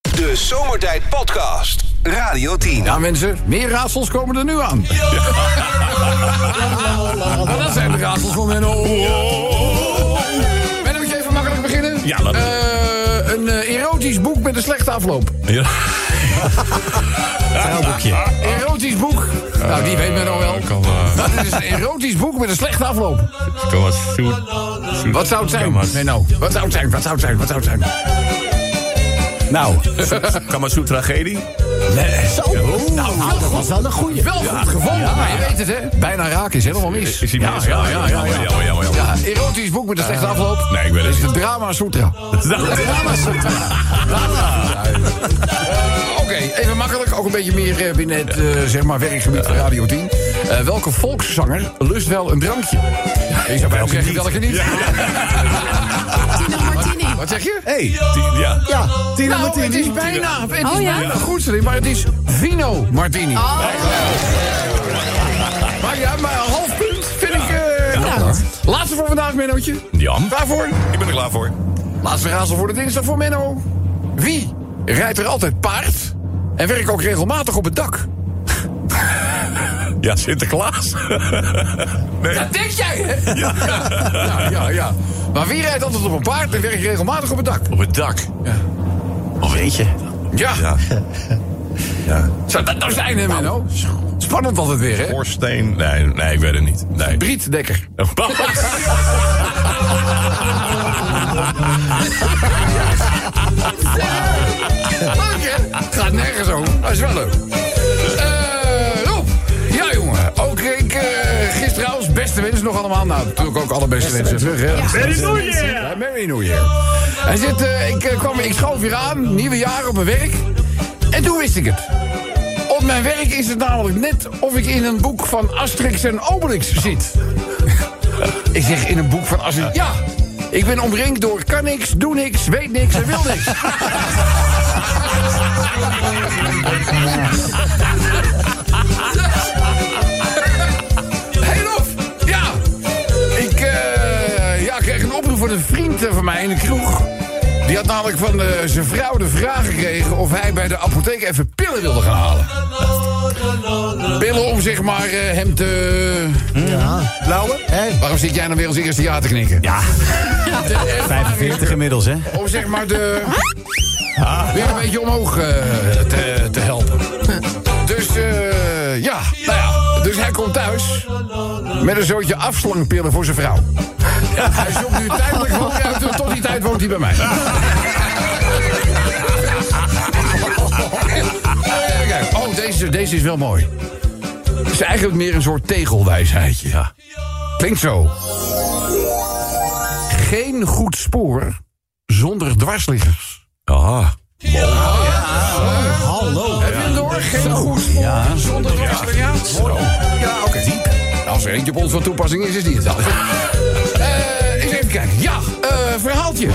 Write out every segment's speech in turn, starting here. De Zomertijd Podcast. Radio 10. Ja, mensen, meer raadsels komen er nu aan. Maar dat zijn de raadsels van Menno. Menno, moet je even makkelijk beginnen? Ja, laten Eh, Een eh, erotisch boek met een slechte afloop. Ja. Huilboekje. Erotisch boek. Nou, die weet Menno wel. Kan maar. Dit is een erotisch boek met een slechte afloop. Kan maar zoet. zoet- Wat zou het zijn, Kan maar- Menno? Wat zou het zijn? Wat zou het zijn? Wat zou het Ah, zijn? Nou, Kan maar zoet tragedie? zo. Nou, dat was wel een goeie. Wel goed gevonden, maar je weet het, hè? Bijna raak is helemaal mis. Ik zie ja, mensen- ja, ja, ja, ja. Jammer, jammer, jammer. Ja, erotisch boek met een slechte afloop. Eh, nee, ik weet het Dit is niet. de Drama Sutra. Dat- Oké, even makkelijk. Ook een beetje meer eh, binnen het eh, zeg maar werkgebied van Radio 10. Eh, welke volkszanger lust wel een drankje? Ik zou bijna zeggen, welke niet? Tino Martini. Wat zeg je? Hey, die- ja. Ja, Tina Nou, het is Martini. bijna. Het is Oh, ja? bijna goed, Celine, maar het is Vino Martini. Oh. Maar ja, maar een half punt vind ik... eh, knap. Laatste voor vandaag, Mennootje. Jan. Daarvoor. Ik ben er klaar voor. Laatste raadsel voor de dinsdag voor Menno. Wie rijdt er altijd paard en werkt ook regelmatig op het dak? Ja, Sinterklaas. Nee. Dat denk jij, hè? Ja. ja, ja, Maar wie rijdt altijd op een paard en werkt regelmatig op het dak? Op het dak. Of eentje. Ja, Ja. Ja. zou dat nou zijn, hè, Menno? Spannend altijd weer, hè? Oorsteen. Nee, nee, ik weet het niet. Nee. Briet Dekker. Leuk, hè? Gaat nergens over, maar is wel leuk. Eh, Rob. Ja, jongen. Ook ik eh gisteren als beste wensen nog allemaal. Nou, natuurlijk ook alle beste wensen terug, hè? Merry New Ja, Merry New Year. Hij zit, eh, ik, eh, kwam, ik schoof weer aan, nieuwe jaar op mijn werk. En toen wist ik het. Op mijn werk is het namelijk net of ik in een boek van Asterix en Obelix zit. ik zeg in een boek van Asterix. Ja, ik ben omringd door kan niks, doe niks, weet niks en wil niks. Hey Rob! Ja! Ik, eh, ja, kreeg een oproep van een vriend eh, van mij in de kroeg. Die had namelijk van eh, zijn vrouw de vraag gekregen of hij bij de apotheek even pillen wilde gaan halen. Pillen om zeg maar eh, hem te. Blauwe? Waarom zit jij nou weer als eerste ja te knikken? Ja, 45 inmiddels, hè? Om zeg maar de. weer een beetje omhoog eh, te, te helpen. Dus eh, ja, nou ja. Dus hij komt thuis met een zootje afslangpillen voor zijn vrouw. Hij zoekt nu tijdelijk woont hij uit, tot die tijd woont hij bij mij. Kijk, Oh, deze, deze is wel mooi. Het is eigenlijk meer een soort tegelwijsheidje. Klinkt zo. Geen goed spoor zonder dwarsliggers. Ah. Hallo. Door geen goed spoor zonder dwarsliggers. Ja, ja oké. Als er eentje op ons van toepassing is, is die het dan. Eh, eens even kijken. Ja, eh, verhaaltje.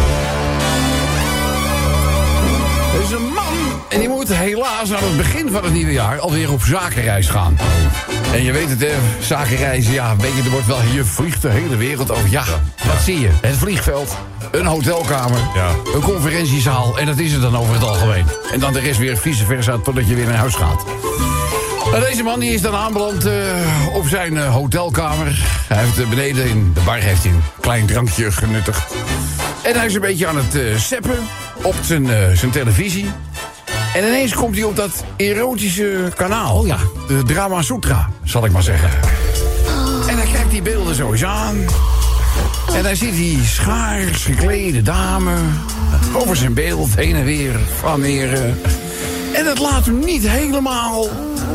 Er is een man en die moet helaas aan het begin van het nieuwe jaar alweer op zakenreis gaan. En je weet het, hè, zakenreizen, ja, weet je, er wordt wel, je vliegt de hele wereld over. Ja, wat zie je? Het vliegveld, een hotelkamer, Ja. een conferentiezaal en dat is het dan over het algemeen. En dan de rest weer vice versa totdat je weer naar huis gaat. Nou, deze man die is dan aanbeland eh, op zijn eh, hotelkamer. Hij heeft eh, beneden in de bar heeft hij een klein drankje genuttigd. En hij is een beetje aan het eh seppen op zijn, eh, zijn televisie. En ineens komt hij op dat erotische kanaal. Oh ja. De Drama Sutra, zal ik maar zeggen. Oh. En hij kijkt die beelden zo eens aan. En daar ziet die schaars geklede dame over zijn beeld heen en weer flaneren. En dat laat hem niet helemaal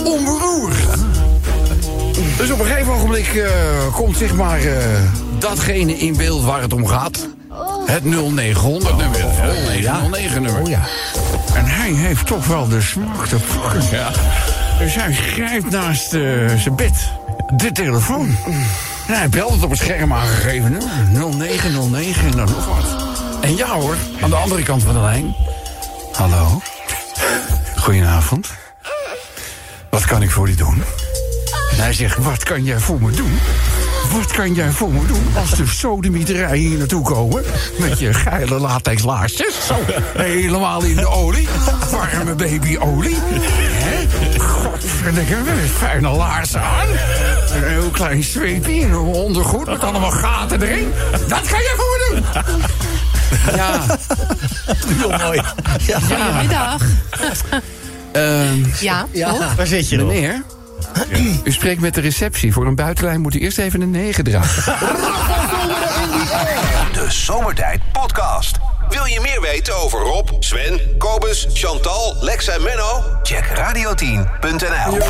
onberoerd. Dus op een gegeven ogenblik eh, komt zeg maar eh, datgene in beeld waar het om gaat. Het 0900 nummer. Of 0909 nummer. Oh ja. En hij heeft toch wel de smaak te pakken. Dus hij grijpt naast eh, zijn bed de telefoon. En hij belt het op het scherm aangegeven nummer. 0909 en dan nog wat. En ja hoor, aan de andere kant van de lijn. Hallo. Goedenavond. Wat kan ik voor u doen? En hij zegt, wat kan jij voor me doen? Wat kan jij voor me doen als de sodemieterijen hier naartoe komen? Met je geile latexlaarsjes. Zo, helemaal in de olie. Waar baby olie. Hè? Godverdikke, met fijne laarzen aan. Een heel klein zweepje en een ondergoed met allemaal gaten erin. Dat kan je voor me doen. Ja, Heel mooi. Goedemiddag. ehm, Ja, toch? Waar zit je nog? meneer. U spreekt met de receptie. Voor een buitenlijn moet u eerst even een 9 dragen. De Zomertijd Podcast. Wil je meer weten over Rob, Sven, Kobus, Chantal, Lex en Menno? Check radio10.nl.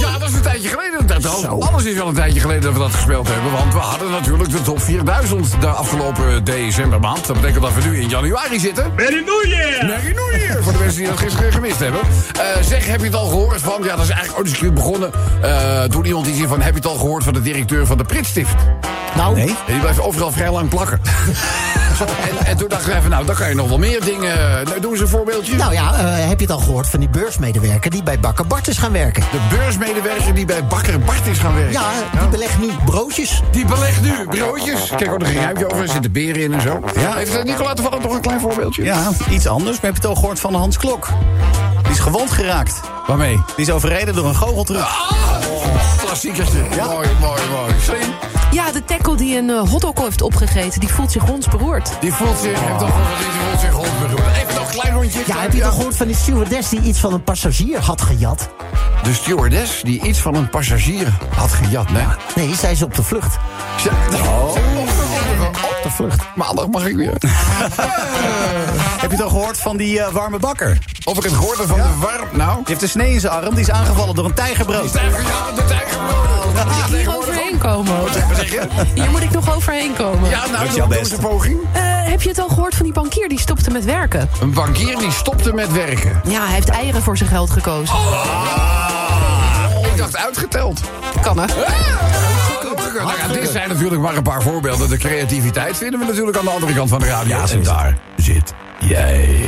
Ja, dat is een tijdje geleden dat dat al. Alles is wel een tijdje geleden dat we dat gespeeld hebben. Want we hadden natuurlijk de top 4000 de afgelopen decembermaand. Dat betekent dat we nu in januari zitten. Merry New Year! Voor de mensen die dat gisteren gemist hebben. Eh, zeg, heb je het al gehoord van... Ja, dat is eigenlijk ooit eens een keer begonnen eh toen iemand die zei van... Heb je het al gehoord van de directeur van de Pritstift? Nou, nee. En die blijft overal vrij lang plakken. en, en toen dachten we even, nou, dan kan je nog wel meer dingen... Nou, Doen ze een voorbeeldje. Nou ja, eh, heb je het al gehoord van die beursmedewerker die bij Bakker Bart is gaan werken? De beursmedewerker die bij Bakker Bart is gaan werken. Ja, die belegt nu broodjes. Die belegt nu broodjes. Kijk, oh, er ging ruimte over. Er zitten beren in en zo. Ja. Heeft eh, Nicola toevallig nog een klein voorbeeldje? Ja, iets anders. Maar heb je het al gehoord van Hans Klok? Die is gewond geraakt. Waarmee? Die is overreden door een Ah. goocheltruck. Klassiekerste. Mooi, mooi, mooi. Slim. Ja, de tackle die een eh, hotdog heeft opgegeten, die voelt zich hondsberoerd. Die voelt zich, heeft toch wel die voelt zich hond bedoeld. Even nog een klein rondje. Ja, heb je het al gehoord van die stewardess die iets van een passagier had gejat? De stewardess die iets van een passagier had gejat, hè? Nee, zij is op de vlucht. Ze- Op de vlucht. Maandag mag ik weer. Heb je het al gehoord van die eh, warme bakker? Die Of ik het hoorde van de warm... Nou... heeft een snee in zijn arm. Die is aangevallen door een tijgerbrood. Tijger, ja, de tijger. Moet ik hier overheen komen? Hier moet ik nog overheen komen. Ja, nou, Doet doe jouw doe best. eens een poging. Eh, heb je het al gehoord van die bankier die stopte met werken? Een bankier die stopte met werken. Ja, hij heeft eieren voor zijn geld gekozen. Ik dacht uitgeteld. Kan hè? Nou ja, dit zijn natuurlijk maar een paar voorbeelden. De creativiteit vinden we natuurlijk aan de andere kant van de radio. en daar zit jij.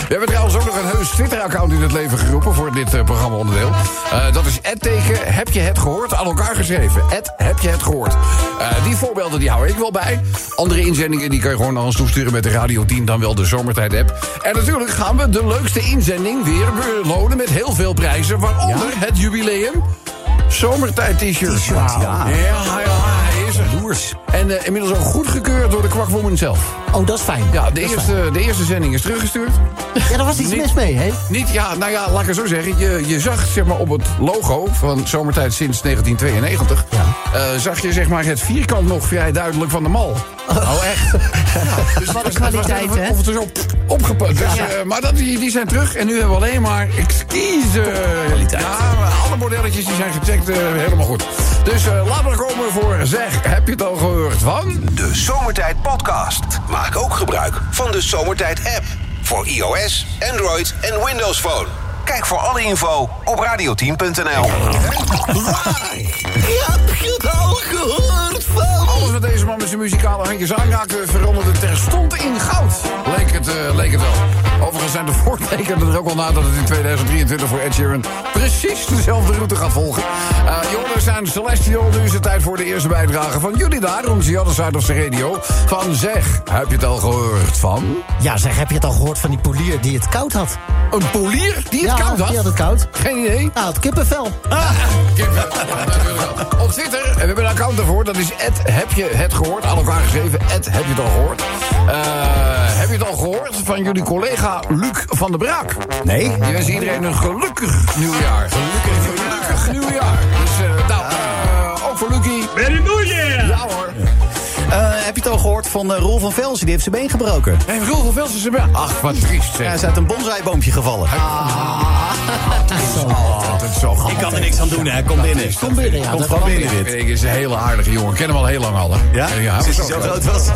We hebben trouwens ook nog een heus Twitter-account in het leven geroepen... voor dit eh, programma-onderdeel. Eh, dat is het teken heb je het gehoord aan elkaar geschreven. Het heb je het gehoord. Eh, die voorbeelden die hou ik wel bij. Andere inzendingen die kan je gewoon naar ons toesturen... met de Radio 10, dan wel de Zomertijd-app. En natuurlijk gaan we de leukste inzending weer belonen... met heel veel prijzen, waaronder het jubileum... Zomertijd-t-shirt. ja. Ja, ja, hij is er. Loers. En eh, inmiddels ook goedgekeurd door de kwakwoman zelf. Oh, dat is fijn. Ja, de Dat is eerste, de eerste zending is teruggestuurd. fijn. Ja, daar was iets Niet- mis mee, hè? Niet, ja, nou ja, laat ik het zo zeggen. Je, je zag zeg maar, op het logo van Zomertijd sinds 1992... eh, zag je zeg maar, het vierkant nog vrij duidelijk van de mal. Nou, Oh, echt? dus Wat een kwaliteit, hè? Of het er zo opgepakt. Dus, eh, maar dat, die, die zijn terug en nu hebben we alleen maar exquise... Kwaliteit. Ja, maar alle modelletjes die zijn gecheckt, eh, helemaal goed. Dus eh, laten we er komen voor Zeg, heb je het al gehoord van... De Zomertijd Podcast. Maak ook gebruik van de Zomertijd app. Voor iOS, Android en Windows Phone. Kijk voor alle info op radio10.nl. Alles wat deze man met zijn muzikale handjes aanraakte, veranderde terstond in goud. Leek het, eh, leek het wel. Overigens zijn de voortekenen er ook al na dat het in 2023 voor Ed Sheeran precies dezelfde route gaat volgen. Eh Jongens zijn Celestial, nu is het tijd voor de eerste bijdrage van jullie daar, om The Other Side of the Radio. Van zeg, heb je het al gehoord van? Ja, zeg, heb je het al gehoord van die polier die het koud had? Een polier die het ja, koud die had had? het koud. Geen idee. Nou, het kippenvel. Kippen. Natuurlijk wel. Ah! Op Twitter, en we hebben een account daarvoor, dat is het heb je het gehoord. Aan elkaar geschreven, het heb je het al gehoord. Eh, heb je het al gehoord van jullie collega Luc van der Braak? Nee. Die wens iedereen een gelukkig nieuwjaar. Gelukkig, gelukkig nieuwjaar. Dus eh, nou, eh, ook voor Lucky. Merry New Year! Ja hoor. Eh, heb je het al gehoord van eh, Roel van Velsen? Die heeft zijn been gebroken. En Roel van Velsen zijn been. Ach, wat triest Hij zeg. is uit een bonsaiboompje gevallen. Oh, Dat is zo grappig. er niks aan doen, hè? Kom binnen. Kom binnen, ja. Komt Dat gewoon kan. binnen, dit. Ik is een hele aardige jongen. Ik ken hem al heel lang al. hè. Ja? hij Sinds was hij ook zo leuk. groot was.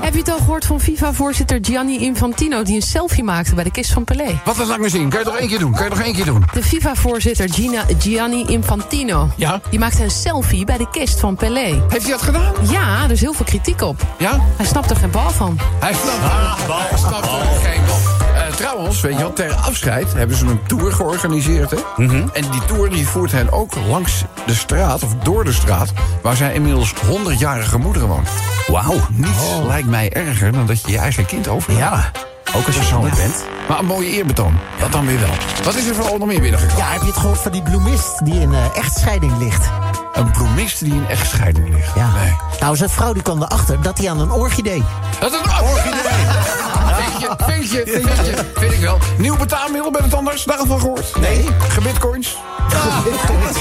Heb je het al gehoord van FIFA-voorzitter Gianni Infantino... die een selfie maakte bij de kist van Pelé? Wat een lange zin. Kan je toch één keer doen? Kan je toch één keer doen? De FIFA-voorzitter Gina- Gianni Infantino... Ja? die maakte een selfie bij de kist van Pelé. Heeft hij dat gedaan? Ja, er is heel veel kritiek op. Ja? Hij snapt er geen bal van. Ah, Ah. Hij snapt Hij snapt er geen bal. Eh, trouwens, weet je wel, ter afscheid hebben ze een tour georganiseerd. Hè? Mhm. En die tour die voert hen ook langs de straat, of door de straat... waar zijn inmiddels 100-jarige moeder woont. Wauw. Oh. Niets lijkt mij erger dan dat je je eigen kind overlaat. Ja, ook als je Ja. zoon bent. Maar een mooie eerbetoon. Dat dan weer wel. Wat is er vooral nog meer binnengekomen? Ja, heb je het gehoord van die bloemist die in eh, echtscheiding ligt? Een bloemist die in echtscheiding ligt. Ja. Nee. Nou, zijn vrouw die kwam erachter dat hij aan een orchidee. Dat is een orchidee. Vind je, vind je, vind je, vind ik wel. Nieuw betaalmiddel bij het anders, daarvan gehoord? Nee. Gebitcoins?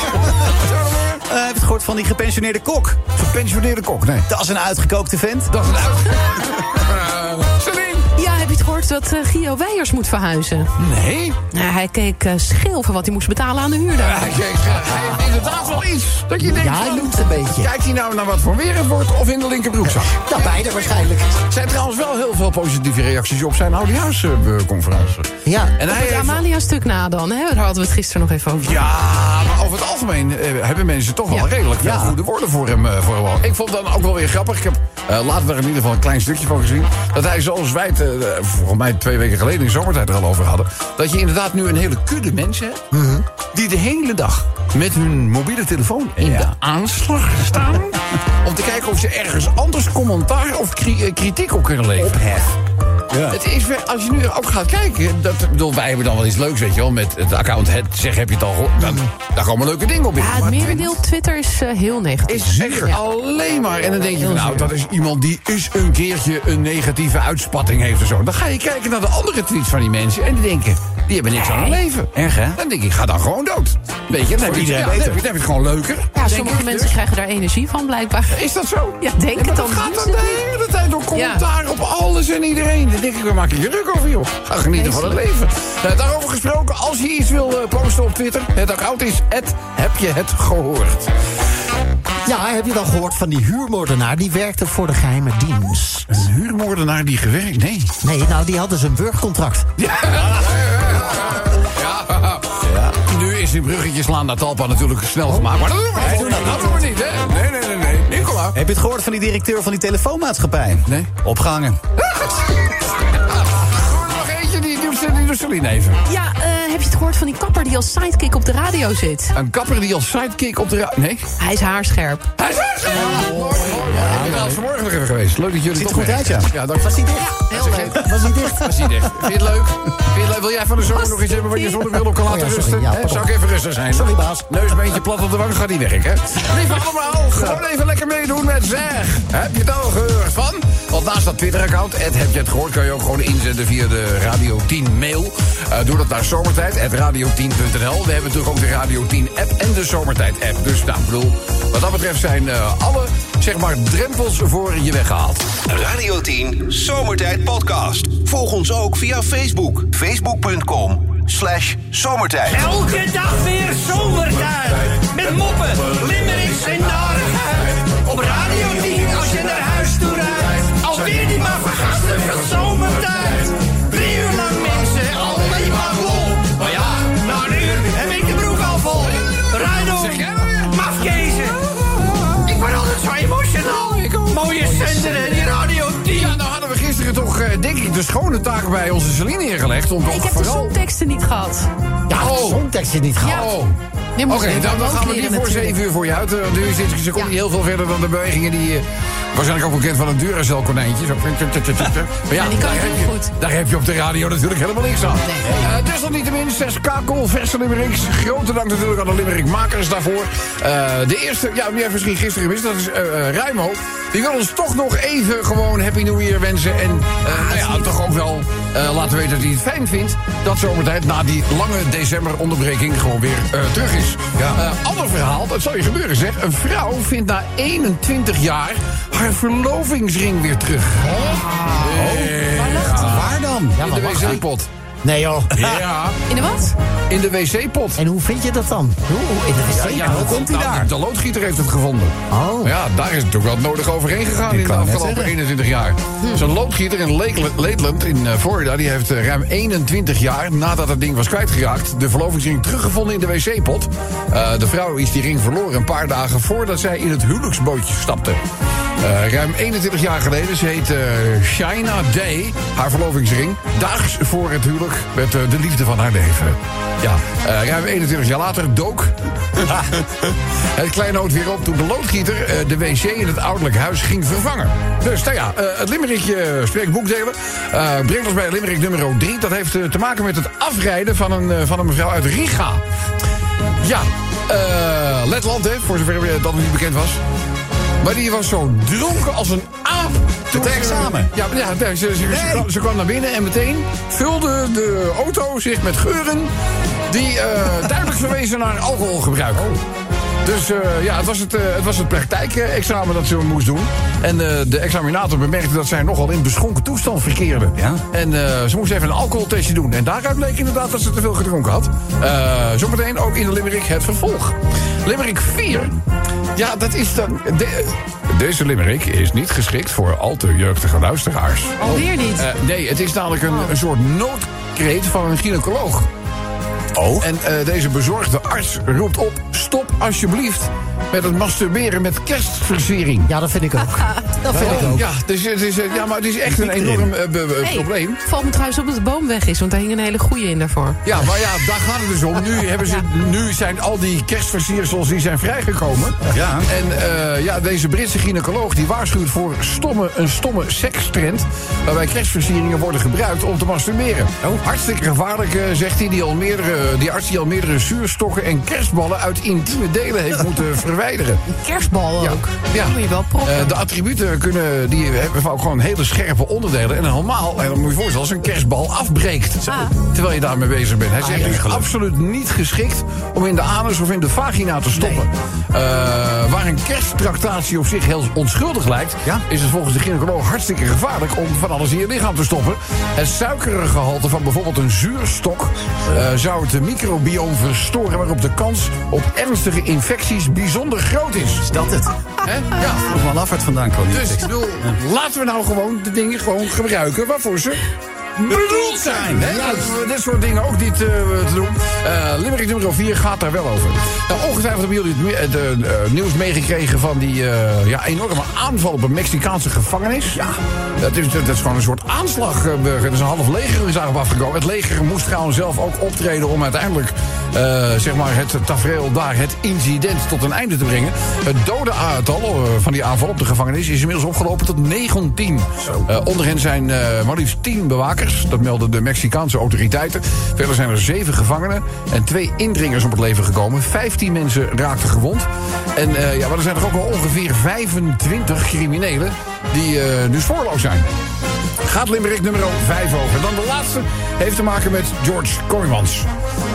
Eh, heb je het gehoord van die gepensioneerde kok? Gepensioneerde kok, nee. Dat is een uitgekookte vent. Dat is een uit. Eh, Celine? Ja, heb je het gehoord dat eh, Gio Weijers moet verhuizen? Nee. Nou, hij keek eh, scheel voor wat hij moest betalen aan de huurder. Eh, Hij heeft- hij heeft inderdaad wel iets. Dat je denkt, Ja, hij van, noemt een beetje. Kijkt hij nou naar wat voor weer het wordt of in de linkerbroekzak? Nou, beide waarschijnlijk. Er zijn trouwens wel heel veel positieve reacties op zijn oudejaarsconferentie. Ja. En hij Het heeft- Amalia-stuk na dan, hè? daar hadden we het gisteren nog even over. Ja, maar over het algemeen eh, hebben mensen toch wel Ja. redelijk veel goede woorden voor hem. eh, voor hem. Ik vond dan ook wel weer grappig. Ik heb eh, later daar in ieder geval een klein stukje van gezien. Dat hij zoals wij het eh, volgens mij twee weken geleden in zomertijd er al over hadden. Dat je inderdaad nu een hele kudde mensen hebt. Mhm. Die de hele dag met hun mobiele telefoon in de aanslag staan. om te kijken of ze ergens anders commentaar of cri- eh, kritiek op kunnen leveren. Het is weer, als je nu ook gaat kijken, dat, ik bedoel, wij hebben dan wel iets leuks, weet je wel, met het account het zeg heb je het al gehoord. Dan, Mm. daar komen leuke dingen op in. Ja, het Maar merendeel Twitter is eh, heel negatief. is echt alleen maar. En dan denk je, van, nou, dat is iemand die eens een keertje een negatieve uitspatting heeft of zo. Dan ga je kijken naar de andere tweets van die mensen en die denken, die hebben niks aan hun leven. Erg, hè? Dan denk ik, ga dan gewoon dood. Weet je, dan heb je, het- iedereen ja, dan heb je, beter. dan heb je het gewoon leuker. Ja, denk sommige ik mensen dus. krijgen daar energie van, blijkbaar. Is dat zo? Ja, denk maar het dat dan. gaat dan de hele tijd door commentaar op alles en iedereen. Dan denk ik, we maken je druk over, joh. Ga genieten van het leven. Nou, daarover gesproken, als je iets wil eh, posten op Twitter... het account is het heb je het gehoord. ja, heb je dan gehoord van die huurmoordenaar? Die werkte voor de geheime dienst. Een huurmoordenaar die gewerkt? Nee. Nee, nou, die hadden zijn burgcontract. Ja. Ja. Nu is die bruggetje slaan naar Talpa natuurlijk snel gemaakt. Maar dat Oh. doen we niet. Dat doen we niet, hè? Nee, nee, nee. nee. Nicola. Heb je het gehoord van die directeur van die telefoonmaatschappij? Nee. Opgehangen. Doe er nog eentje, die doet die doet Celine even. Ja, eh, heb je het gehoord van die kapper die als sidekick op de radio zit? Een kapper die als sidekick op de... ra- Nee? Hij is haarscherp. Hij is weg! Mooi, mooi. Ik ben al vanmorgen nog even geweest. Leuk dat jullie Ziet er toch goed uit, mee- ja. Ja, dank was hij dicht. Heel leuk. Was hij dicht? Was hij dicht. Vind je het leuk? Vind je het leuk? Wil jij van de zomer nog iets hebben wat je zonder wil op kan laten Oh ja, sorry. rusten? Ja, Hè, pardon. Zou ik even rustig zijn? Sorry, baas. Neus een beetje plat op de wang, gaat niet weg, hè? Lieve allemaal, gewoon even lekker meedoen met zeg. Heb je het al gehoord van? Want naast dat Twitter-account, Ed, heb je het gehoord, kan je ook gewoon inzenden via de Radio 10 mail. Eh, doe dat naar zomertijd, radio10.nl. We hebben natuurlijk ook de Radio 10-app en de zomertijd-app. Dus nou, ik bedoel, wat dat betreft zijn eh, alle, zeg maar, drempels voor je weggehaald. Radio 10 Zomertijd Podcast. Volg ons ook via Facebook. Facebook.com slash zomertijd. Elke dag weer zomertijd. Met moppen, limmerings en narigheid. Op Radio 10 als je naar huis toe rijdt. Alweer die maar vergasten van zomertijd. Drie uur lang mensen, alleen maar lol. Maar ja, na een uur heb ik de broek al vol. Rijdel, mafkezen. Ik word altijd zo emotional. Mooie zender en die Radio 10. Ja, nou hadden we gisteren toch, eh, denk ik, de schone taak bij onze Celine neergelegd. Om toch Ik heb de vooral... songteksten niet gehad. Ja, de Oh. songtekst niet gehad. Oh. Je Oké, moet het dan, dan gewoon gaan we die leren voor natuurlijk. 7 uur voor je uit. eh, Nu is dit, ze komt Ja. niet heel veel verder dan de bewegingen die... eh, waarschijnlijk ook bekend van een Duracell-konijntje. Zo. Maar ja, die kan daar, ik heb heel je, goed. daar heb je op de radio natuurlijk helemaal niks aan. Eh, desalniettemin, zes kakel, verse Limericks. Grote dank natuurlijk aan de Limerick-makers daarvoor. Eh, de eerste, ja, die heeft misschien gisteren gemist, dat is eh eh, Rijmo. Die wil ons toch nog even gewoon Happy New Year wensen. En eh, nou ja, toch ook wel eh, laten weten dat hij het fijn vindt... dat zomertijd na die lange december-onderbreking gewoon weer eh, terug is. Eh, ander verhaal, dat zal je gebeuren zeg. Een vrouw vindt na 21 jaar haar verlovingsring weer terug. Eh, Waar dan? In de wc-pot. Nee, joh. Ja, In de wat? in de wc-pot. En hoe vind je dat dan? Hoe, hoe in de wc? Ja, hoe komt hij daar? De loodgieter heeft het gevonden. Oh. Ja, daar is natuurlijk wat nodig overheen gegaan in de kan net afgelopen zeggen. 21 jaar. Zo'n loodgieter in Lake- Lakeland in eh, Florida... die heeft eh, ruim 21 jaar nadat het ding was kwijtgeraakt... de verlovingsring teruggevonden in de wc-pot. Eh, de vrouw is die ring verloren een paar dagen voordat zij in het huwelijksbootje stapte. Eh, ruim 21 jaar geleden. Ze heet eh, Shaina Day, haar verlovingsring. Daags voor het huwelijk met eh, de liefde van haar leven. Ja, eh, ruim 21 jaar later dook het kleinood weer op toen de loodgieter eh, de wc in het ouderlijk huis ging vervangen. Dus nou ja, eh, het limmerikje spreekt boekdelen. Eh, brengt ons bij limmerik nummer 3. Dat heeft eh, te maken met het afrijden van een, eh, van een mevrouw uit Riga. Ja, eh, Letland, hè, voor zover eh, dat nog niet bekend was. Maar die was zo dronken als een aap. Toen Het examen. Ja, ja ze, ze, ze- ze kwam, ze kwam naar binnen en meteen vulde de auto zich met geuren... die eh, duidelijk verwezen naar alcoholgebruik. Dus eh, ja, het was het, eh, het, was het praktijkexamen dat ze moest doen. En eh, de examinator bemerkte dat zij nogal in beschonken toestand verkeerde. Ja. En eh, ze moest even een alcoholtestje doen. En daaruit bleek inderdaad dat ze te veel gedronken had. Eh, zometeen ook in de Limerick het vervolg. Limerick 4. Ja, dat is dan... de- deze Limerick is niet geschikt voor al te jeugdige luisteraars. Alweer niet. Eh, nee, het is namelijk een, een soort noodkreet van een gynaecoloog. Oh. En eh, deze bezorgde arts roept op... stop alsjeblieft met het masturberen met kerstversiering. Ja, dat vind ik ook. Dat vind ik Oh, ook. ja, dus, het is, eh, ja, maar het is echt een enorm eh, be- be- Hey, probleem. Valt me trouwens op dat de boom weg is, want daar hing een hele goeie in daarvoor. Ja, maar ja, daar gaat het dus om. Nu, hebben ze, nu zijn al die kerstversiersels die zijn vrijgekomen. Ja. En eh, ja, deze Britse gynaecoloog die waarschuwt voor stomme, een stomme sekstrend... waarbij kerstversieringen worden gebruikt om te masturberen. Hartstikke gevaarlijk, eh, zegt hij, die, al meerdere, die arts die al meerdere zuurstokken... en kerstballen uit intieme delen heeft moeten verwijderen. Kerstbal ook. Ja. Dat moet je wel proppen. Eh, de attributen kunnen, die hebben vaak gewoon hele scherpe onderdelen. En helemaal, en dan moet je je voorstellen, als een kerstbal afbreekt. Ah. Terwijl je daarmee bezig bent. Hij zegt, het is absoluut niet geschikt om in de anus of in de vagina te stoppen. Eh, waar een kersttractatie op zich heel onschuldig lijkt... Ja. is het volgens de gynaecoloog hartstikke gevaarlijk om van alles in je lichaam te stoppen. Het suikergehalte van bijvoorbeeld een zuurstok... eh, zou het microbioom verstoren waarop de kans op ernstige infecties bijzonder groot is. Is dat het? Hè? Ja. Nog wel af vandaan kwam. die Dus ik tekst. bedoel, laten we nou gewoon de dingen gewoon gebruiken waarvoor ze bedoeld zijn. Hè? Laten we dit soort dingen ook niet eh, te doen. Eh Limerick nummer 4 gaat daar wel over. Nou, ongetwijfeld hebben jullie het, me- het, eh, eh, nieuws meegekregen van die eh, ja, enorme aanval op een Mexicaanse gevangenis. Ja. Dat is, dat is gewoon een soort aanslag. eh, Er is een half leger is daarop afgekomen. Het leger moest trouwens zelf ook optreden om uiteindelijk eh, zeg maar het tafereel daar, het incident, tot een einde te brengen. Het dode aantal eh, van die aanval op de gevangenis is inmiddels opgelopen tot 19. Eh, onder hen zijn eh, maar liefst 10 bewakers, dat melden de Mexicaanse autoriteiten. Verder zijn er 7 gevangenen en 2 indringers om het leven gekomen. 15 mensen raakten gewond. En eh, ja, maar er zijn er ook wel ongeveer 25 criminelen die eh, nu spoorloos zijn. Gaat Limerick nummer 5 over. En dan de laatste heeft te maken met George Corymans.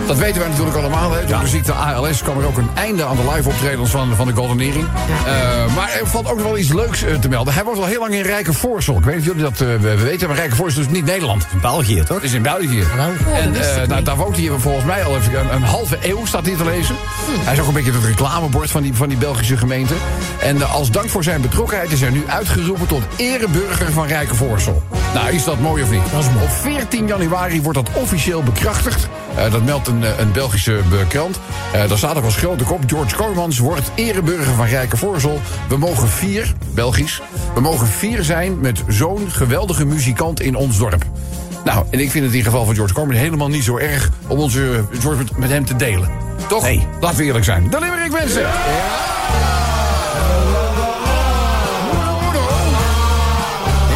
Dat weten wij natuurlijk allemaal. Hè. Door de ziekte ALS kwam er ook een einde aan de live optredens van, van de Golden Earring. Eh, maar er valt ook nog wel iets leuks eh, te melden. Hij woont al heel lang in Rijkenvoorsel. Ik weet niet of jullie dat eh, we- we weten, maar Rijkenvoorsel is dus niet Nederland. België, toch? Het is in België. Oh, en eh, nou, daar woont hij volgens mij al even een, een halve eeuw, staat hier te lezen. Hij is ook een beetje het reclamebord van die, van die Belgische gemeente. En eh, als dank voor zijn betrokkenheid is hij nu uitgeroepen tot ereburger van Rijkenvoorsel. Nou, is dat mooi of niet? Dat is mooi. Op 14 januari wordt dat officieel bekrachtigd. Eh, dat meldt een, eh, een Belgische eh, krant. Eh, daar staat ook als grote kop: George Cormans wordt ereburger van Rijkenvoorsel. We mogen vier, Belgisch, we mogen vier zijn met zo'n geweldige muzikant in ons dorp. Nou, en ik vind het in het geval van George Cormans helemaal niet zo erg om onze eh, zorg met, met hem te delen. Toch? Nee. Laten we eerlijk zijn. Dan ik wensen.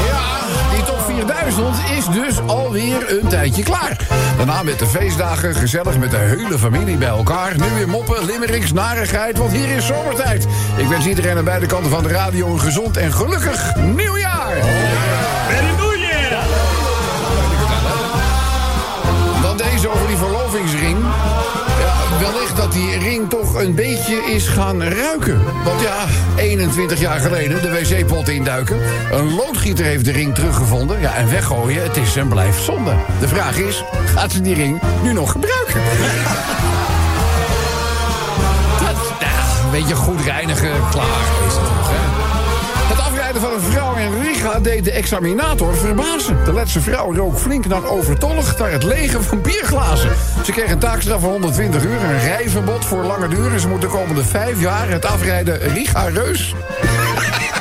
Ja, die top 4000 is dus alweer een tijdje klaar. Daarna met de feestdagen, gezellig met de hele familie bij elkaar. Nu weer moppen, limericks, narigheid, want hier is zomertijd. Ik wens iedereen aan beide kanten van de radio een gezond en gelukkig nieuwjaar. Dan deze over die verlovingsring. Ja, wellicht dat die ring toch een beetje is gaan ruiken. Want ja, 21 jaar geleden de wc-pot induiken. Een loodgieter heeft de ring teruggevonden. Ja, en weggooien, het is en blijft zonde. De vraag is, gaat ze die ring nu nog gebruiken? Dat, nou, een beetje goed reinigen, klaar is het toch, hè? Het afrijden van een vrouw in Riga deed de examinator verbazen. De letse vrouw rook flink naar overtollig naar het legen van bierglazen. Ze kreeg een taakstraf van 120 uur, een rijverbod voor lange duur... en ze moet de komende vijf jaar het afrijden Riga-reus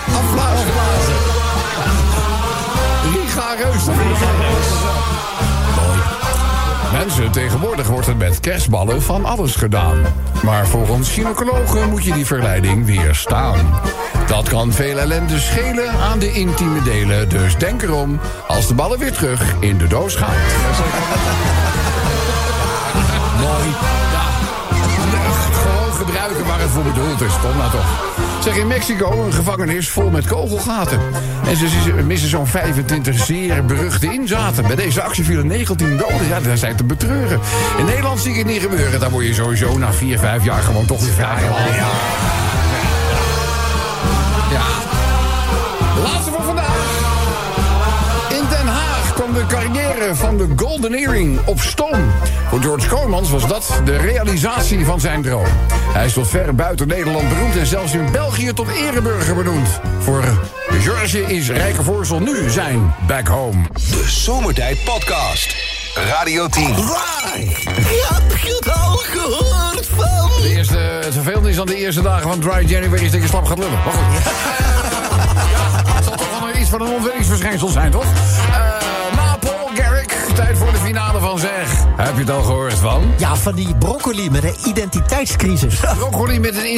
afla- afblazen. Riga Reus. Mensen, tegenwoordig wordt het met kerstballen van alles gedaan. Maar volgens gynaecologen moet je die verleiding weerstaan. Dat kan veel ellende schelen aan de intieme delen. Dus denk erom als de ballen weer terug in de doos gaan. Mooi. Ja. Gewoon gebruiken waar het voor bedoeld is. Kom nou toch. Zeg, in Mexico een gevangenis vol met kogelgaten. En ze ze missen zo'n 25 zeer beruchte inzaten. Bij deze actie vielen 19 doden. Ja, daar zijn te betreuren. In Nederland zie ik het niet gebeuren. Daar word je sowieso na 4, 5 jaar gewoon toch weer vragen. Ja. ja. Laatste voor vandaag. In Den Haag kwam de carrière van de Golden Earring op stoom. Voor George Komans was dat de realisatie van zijn droom. Hij is tot ver buiten Nederland beroemd en zelfs in België tot ereburger benoemd. Voor George is Rijkenvoorsel nu zijn back home. De Zomertijd Podcast. Radio 10. Waar heb je het al gehoord van? De eerste, het vervelende is aan de eerste dagen van Dry January is dat je slap gaat lullen. Maar goed. Ja, het zal toch wel iets van een ontwikkelingsverschijnsel zijn, toch? Eh, na Paul Garrick, tijd voor de finale van Zeg. Heb je het al gehoord van? Ja, van die broccoli met een identiteitscrisis. Broccoli met een... in-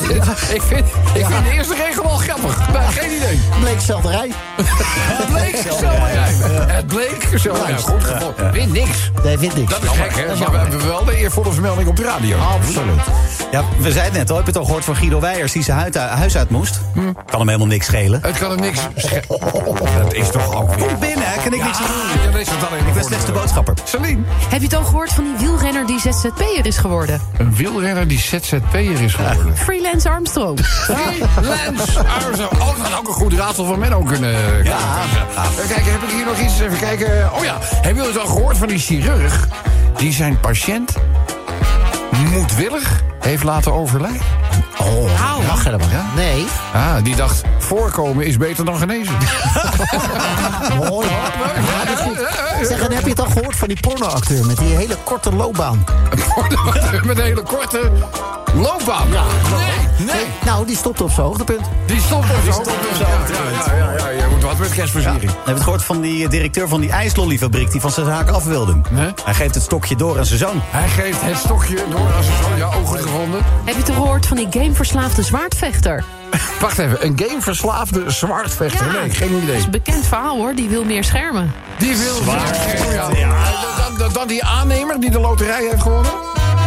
ik vind, ik vind de eerste regel al grappig. Maar geen idee. Bleek zelderij. Het bleek zelderij. Het bleek zelderij. Goed gevonden. Win niks. Nee, vind ik. Dat is gek, hè? Maar we hebben wel de eervolle vermelding op de radio. Absoluut. Ja, we zeiden het net al. Heb je het al gehoord van Guido Weijers die zijn huid- huis uit moest? Hm. Kan hem helemaal niks schelen. Het kan hem niks... sche- Dat is toch ook weer... Kom binnen, hè, kan ik niks aan doen. Eh. Ja, dat is het alleen. Ik ben slechts de boodschapper. Celine. Heb je het al gehoord van die wielrenner die ZZP'er is geworden? Een wielrenner die ZZP'er is geworden. Freelance Armstrong. Lens Armstrong. Oh, dat had ook een goed raadsel van Menno kunnen... Ja. Kijk, heb ik hier nog iets? Even kijken. Oh ja, hebben jullie het al gehoord van die chirurg... die zijn patiënt moedwillig heeft laten overlijden? Oh, Mag helemaal Ja? Nee. Ah, die dacht, voorkomen is beter dan genezen. Mooi hoor. Ja, dat is goed. Zeg, en heb je het al gehoord van die pornoacteur met die hele korte loopbaan? Met een hele korte loopbaan. Ja, nee, nee. Nou, die stopte op zijn hoogtepunt. Die stond op zo. Ja, ja, ja, ja, je moet wat met kerstversiering. Heb je het gehoord van die eh, directeur van die ijslollyfabriek die van zijn zaak af wilde? Nee. Hij geeft het stokje door aan zijn zoon. Hij geeft het stokje door als een zo. Ja, ogen gevonden. Heb je het al gehoord van die gameverslaafde zwaardvechter? Wacht even, een gameverslaafde zwaardvechter. Ja. Nee, geen Dat idee. is een bekend verhaal hoor, die wil meer schermen. Die wil zwaard. Dan, dan, dan die aannemer die de loterij heeft gewonnen.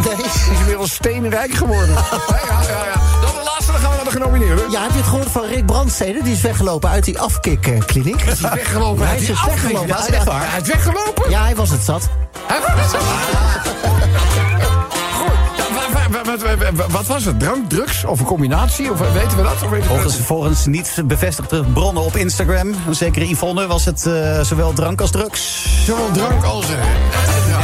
Nee. Die is inmiddels steenrijk geworden. Ja, ja, ja, ja. Dan de laatste, dan gaan we naar de genomineerden. Ja, heb je het gehoord van Rick Brandstede? Die is weggelopen uit die afkikkliniek. Is hij weggelopen? Hij is die dus afgelopen? weggelopen. Ja, is echt waar. Hij is weggelopen? Ja, hij was het zat. Hij was het. Goed. Ja, wa- wa- wa- wa- wa- wa- Wat was het? Drank, drugs of een combinatie? Of eh, weten we dat? Of weten we Volgens, volgens niet bevestigde bronnen op Instagram, zeker Yvonne, was het eh, zowel drank als drugs. Zowel drank als eh,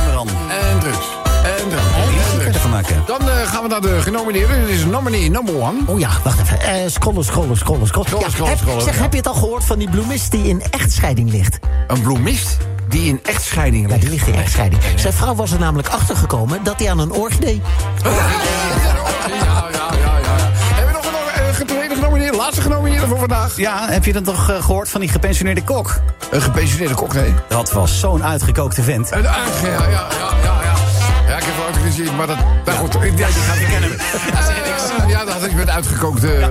en drank. En drugs. En drank. En drugs. Verder van maken. Dan eh, gaan we naar de genomineerden. Dit is nominee number one. Oh ja, wacht even. Eh scrollen, scrollen, scrollen, scrollen. Scrollen, Ja, scrollen, heb- scrollen, Zeg, ja. heb je het al gehoord van die bloemist die in echtscheiding ligt? Een bloemist die in echtscheiding Ja, ligt. die ligt in echtscheiding. Zijn vrouw was er namelijk achtergekomen dat hij aan een orchidee... Ja, ja, ja, ja, ja. Hebben we nog een eh, tweede genomineerde? Laatste genomineerde voor vandaag? Ja, heb je dat nog eh, gehoord van die gepensioneerde kok? Een gepensioneerde kok, nee. Dat was zo'n uitgekookte vent. Een aardige, ja, ja, ja, ja, ja. Ja, ik heb het ook gezien, maar dat... Nou goed, ik- ja, die gaat herkennen. Eh, ja, dat had ik met uitgekookt. eh.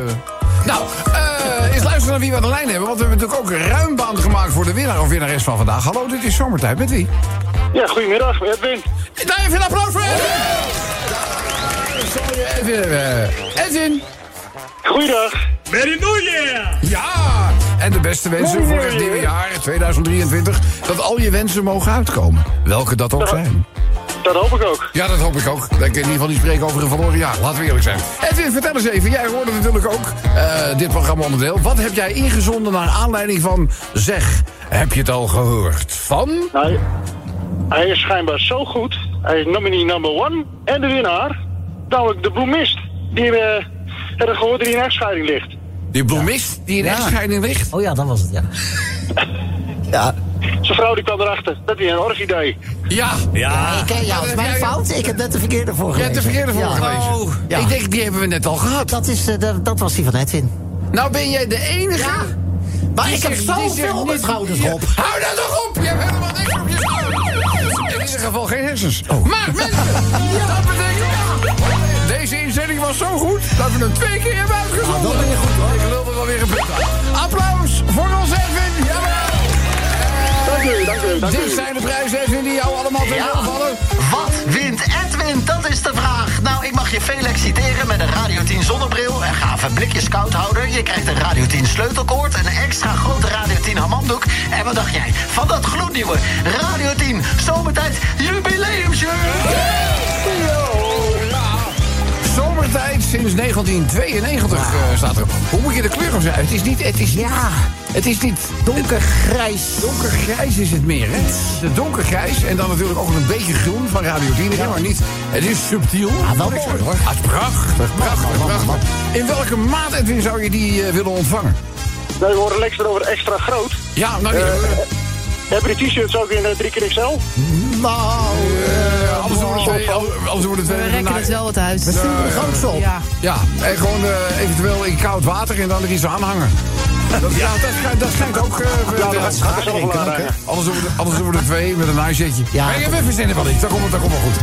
Nou, eh eens luisteren naar wie we aan de lijn hebben. Want we hebben natuurlijk ook ruim baan gemaakt voor de winnaar of winnares van vandaag. Hallo, dit is Zomertijd. Met wie? Ja, goedemiddag Edwin. Daar even een applaus voor Edwin! Sorry, Edwin. eh, Edwin! Goeiedag. Ja! En de beste wensen voor het nieuwe jaar 2023. Dat al je wensen mogen uitkomen. Welke dat ook zijn. Dat hoop ik ook. Ja, dat hoop ik ook. Dat ik in ieder geval niet spreek over een verloren jaar. Laten we eerlijk zijn. Edwin, vertel eens even. Jij hoorde natuurlijk ook eh, dit programma onderdeel. Wat heb jij ingezonden naar aanleiding van... Zeg, heb je het al gehoord van... Nou, hij- hij is schijnbaar zo goed. Hij is nominee number one. En de winnaar, namelijk de bloemist. Die eh hebben gehoord dat hij in echtscheiding ligt. Die bloemist die in echtscheiding ligt? Oh ja, dat was het, ja. Ja, Zijn vrouw die kwam erachter dat hij een orchidee. Ja. Ja. Kijk, ja, dat is mijn Jij- fout. Ik heb net de verkeerde voor Jij hebt de verkeerde voor Ja. gelezen. Oh, ja. Ik denk, die hebben we net al gehad. Dat, is, eh, dat, dat was die van Edwin. Nou ben jij de enige. Maar die ik heb zegt- die zegt zoveel op mijn niet- schouders op. Ja, Hou dat toch op! Je hebt helemaal niks op je schouders. In ieder geval geen hersens. Maar mensen, dat betekent... Deze inzending was zo goed dat we hem twee keer hebben uitgezonden. dat ben je goed, hoor. Ik lul er wel weer een punt uit. Applaus voor ons Edwin. Jawel. Dank u, dank u, dank Dit u. zijn de prijzen Edwin die jou allemaal ten Ja. ja. vallen. Wat wint Edwin? Dat is de vraag. Nou, ik mag je veel exciteren met een Radio 10 zonnebril, een gave blikjes koudhouder. Je krijgt een Radio 10 sleutelkoord, een extra grote Radio 10 hamamdoek. En wat dacht jij van dat gloednieuwe Radio 10 zomertijd jubileumshirt? Zomertijd sinds 1992 eh, staat er. Hoe moet je de kleur op zijn? Het is niet... Het is niet Ja. Het is niet... Donkergrijs. Donkergrijs is het meer, hè? De donkergrijs en dan natuurlijk ook een beetje groen van Radio 10. Ja. Maar niet, het is subtiel. Ah, wel Moet ik mooi, zeggen. hoor. Ah, het is prachtig, prachtig, prachtig. In welke maat, Edwin, zou je die eh, willen ontvangen? Nee, we horen Lex erover extra groot. Ja, nou, die, Heb je die t-shirts ook in eh, 3xL? Nou, eh, anders Oh. worden het twee. Anders worden het We twee. rekken het wel wat we uit. zien er groots op. Ja. Ja, en gewoon eh, eventueel in koud water en dan er iets aan hangen. Dat, ja, dat, schijnt- dat schijnt ook... eh, Ja, wel- dat gaat er zelf wel aan. hè. Anders doen, we er, anders doen we er twee met een naaizetje. Ja. maar we verzinnen wel iets, dat komt, dat komt wel goed.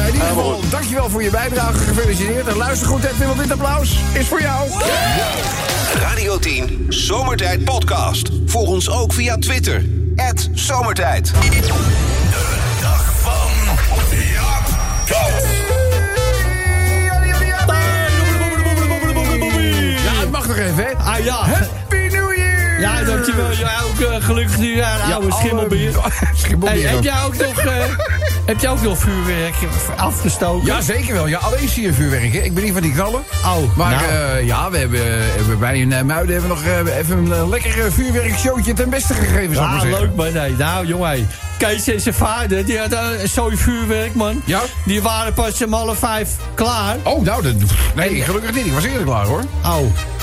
Eh in ieder geval, dankjewel voor je bijdrage. Gefeliciteerd en luister goed, Edwin, want dit applaus is voor jou. Radio 10 Zomertijd Podcast. Volg ons ook via Twitter. Het Zomertijd. De dag van Jaap Ja, het mag nog even, hè. Ah ja. Happy New Year! Ja, dankjewel. Jij ook eh, gelukkig nieuwjaar, oude schimmelbeer. Hey, Schimmelbeer. heb ook. jij ook nog... eh, Heb jij ook nog vuurwerk afgestoken? Ja, zeker wel. Ja, alleen zie je vuurwerk, hè. Ik ben niet van die knallen. Oh, Maar nou. eh, ja, we hebben, hebben bij een eh, muiden hebben we nog eh, even een eh, lekker eh, vuurwerkshowtje ten beste gegeven, zou ik Ah, maar zeggen. leuk man. Nee, nou jongen. hey. Kees en zijn vader, die had eh, een zooi vuurwerk man. Ja? Die waren pas om half vijf klaar. Oh, nou, dat, nee, gelukkig niet. Ik was eerder klaar, hoor. Oh.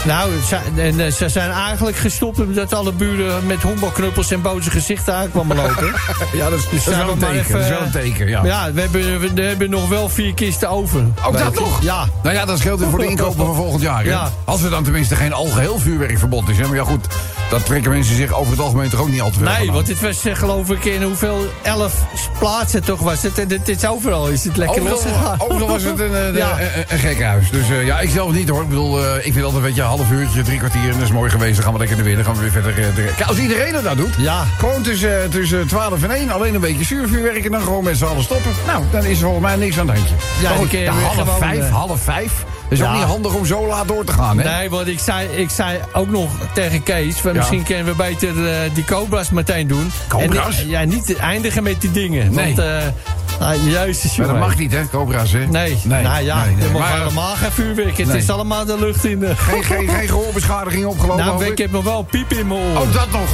Nou, ze- en eh, ze zijn eigenlijk gestopt omdat alle buren met honkbalknuppels en boze gezichten aankwamen lopen. Ja, dat is, dat is zijn wel we een maar teken. even, eh, dat is wel een teken, ja. Ja, we hebben, we hebben nog wel vier kisten over. Ook Bij dat de- nog? Ja. Nou ja, dat scheelt weer voor de inkopen van volgend jaar. hè? Ja. Als er dan tenminste geen algeheel vuurwerkverbod is. Hè? Maar ja, goed, dat trekken mensen zich over het algemeen toch ook niet al te veel van Nee, aan. want dit was eh, geloof ik in hoeveel elf plaatsen toch was het. En dit is overal is het lekker los. Overal, overal was het een, eh, ah. Ja. een, een, een gek huis. Dus eh, ja, ik zelf niet hoor. Ik bedoel, eh, ik vind altijd een beetje een half uurtje, drie kwartier. En dat is mooi geweest. Dan gaan we lekker naar binnen. Dan gaan we weer verder. eh, direct. Kijk, als iedereen dat nou doet. Ja. Gewoon tussen, eh, tussen 12 en 1. Alleen een beetje zuurvuurwerk. En dan gewoon met z'n allen stoppen. Nou, dan is er volgens mij niks aan het handje. Ja, Maar goed, nou, dan kun je weer half gewoon, vijf, eh, half vijf. Dat is Ja. ook niet handig om zo laat door te gaan, hè? Nee, want ik zei, ik zei ook nog tegen Kees... van Ja. misschien kunnen we beter eh, die cobras meteen doen. Cobra's? En, eh, ja, niet eindigen met die dingen. Nee. Want, eh nou, juist is Maar dat jongen. mag niet, hè, cobra's, hè? Nee, nou ja, nee, nee. er mag Maar, helemaal geen vuurwerk. Het Nee. is allemaal de lucht in. de. Geen, geen, geen gehoorbeschadiging opgelopen. nou, hoop ik ik. heb nog wel piep in mijn oor. Oh, dat nog.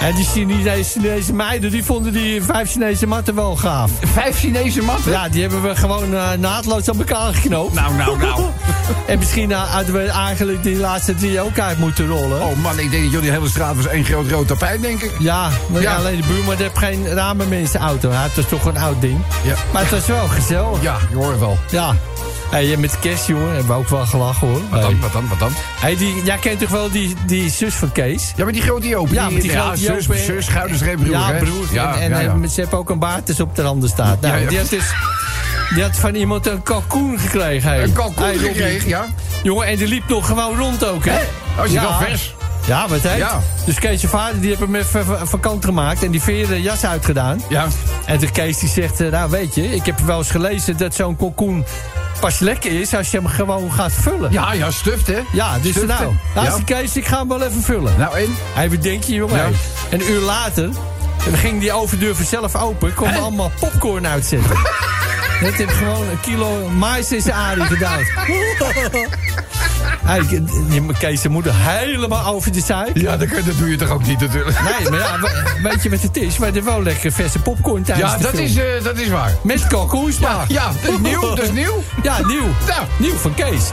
En die Chinese, Chinese meiden, die vonden die vijf Chinese matten wel gaaf. Vijf Chinese matten? Ja, die hebben we gewoon eh, naadloos aan elkaar geknoopt. Nou, nou, nou. En misschien eh, hadden we eigenlijk die laatste drie ook uit moeten rollen. Oh man, ik denk dat jullie hele straat was één groot rood tapijt, denk ik. Ja, maar Ja. alleen de buurman heeft geen ramen meer in zijn auto. Hij heeft dus toch een oud ding. Ja. Maar het was wel gezellig. Ja. Ja, je hoort het wel. Hey, met kerst, jongen, hebben we ook wel gelachen, hoor. Wat dan, Hey. wat dan, wat dan? Hey, die, jij kent toch wel die, die zus van Kees? Ja, maar die grote Joop. Ja, met die grote Joop, zus, hè? zus, schuiderstreep, broer, ja, hè? broer. Ja, en en ja, ja. eh, ze hebben ook een baard dus op de randen staat. Nou, Ja, ja. Die, had dus, die had van iemand een kalkoen gekregen. hey. Een kalkoen Hey, Robbie. gekregen, ja. Jongen, en die liep nog gewoon rond ook, hè? Als je Ja. oh, wel vers. Ja, wat heet? Ja. Dus Kees' zijn vader die heeft hem even va- van kant gemaakt en die veren jas uitgedaan. Ja. En de Kees die zegt, eh, nou weet je, ik heb wel eens gelezen dat zo'n kalkoen pas lekker is als je hem gewoon gaat vullen. Ja, ja, stuft, hè? Ja, dus Stuft, nou, hè? nou Ja. die Kees, ik ga hem wel even vullen. Nou, en? Hij bedenkt je, jongen. Ja. Een uur later ging die overdeur vanzelf open. Kon allemaal popcorn uitzetten. Dat heeft gewoon een kilo mais in zijn arie gedouwd. Hij, die- Kees, zijn moeder helemaal over de zaak. Ja, dat, kun- dat doe je toch ook niet, natuurlijk. Nee, maar ja, we- weet je wat het is? We hebben wel lekker verse popcorn tijdens Ja, de dat film. is, eh, dat is waar. Met kalkoensmaak. Ja, dat is nieuw, dat is nieuw. Ja, nieuw. Ja. Nieuw van Kees.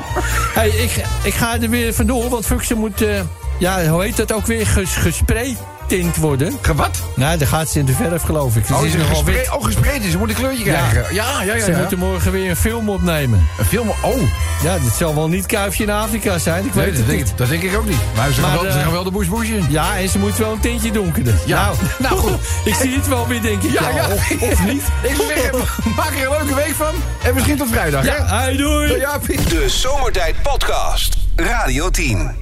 Hey, ik, ik ga er weer vandoor, want Fuxen moet eh, ja, hoe heet dat ook weer? Ges, gespraytint worden. wat? Nou, dan gaat ze in de verf, geloof ik. Ze oh, Oh, is is het nogal wit. gespreid, oh, gespreid is. Ze moet een kleurtje krijgen. Ja, ja, ja. ja, Ze moeten morgen weer een film opnemen. Een film... Oh. Ja, dit zal wel niet Kuifje in Afrika zijn. Ik Nee, weet dat het denk, niet. ik- dat denk ik ook niet. Maar ze, Maar, gaan, wel, ze eh, gaan wel de boes boes in. Ja, en ze moet wel een tintje donkerder. Ja. Nou, goed. ik zie het wel weer, denk ik. Ja, ja. Of, of niet. Ik zeg, maak er een leuke week van. En misschien tot vrijdag. Ja, hè? hey, doei. Ja, Piet. De Zomertijd Podcast. Radio 10.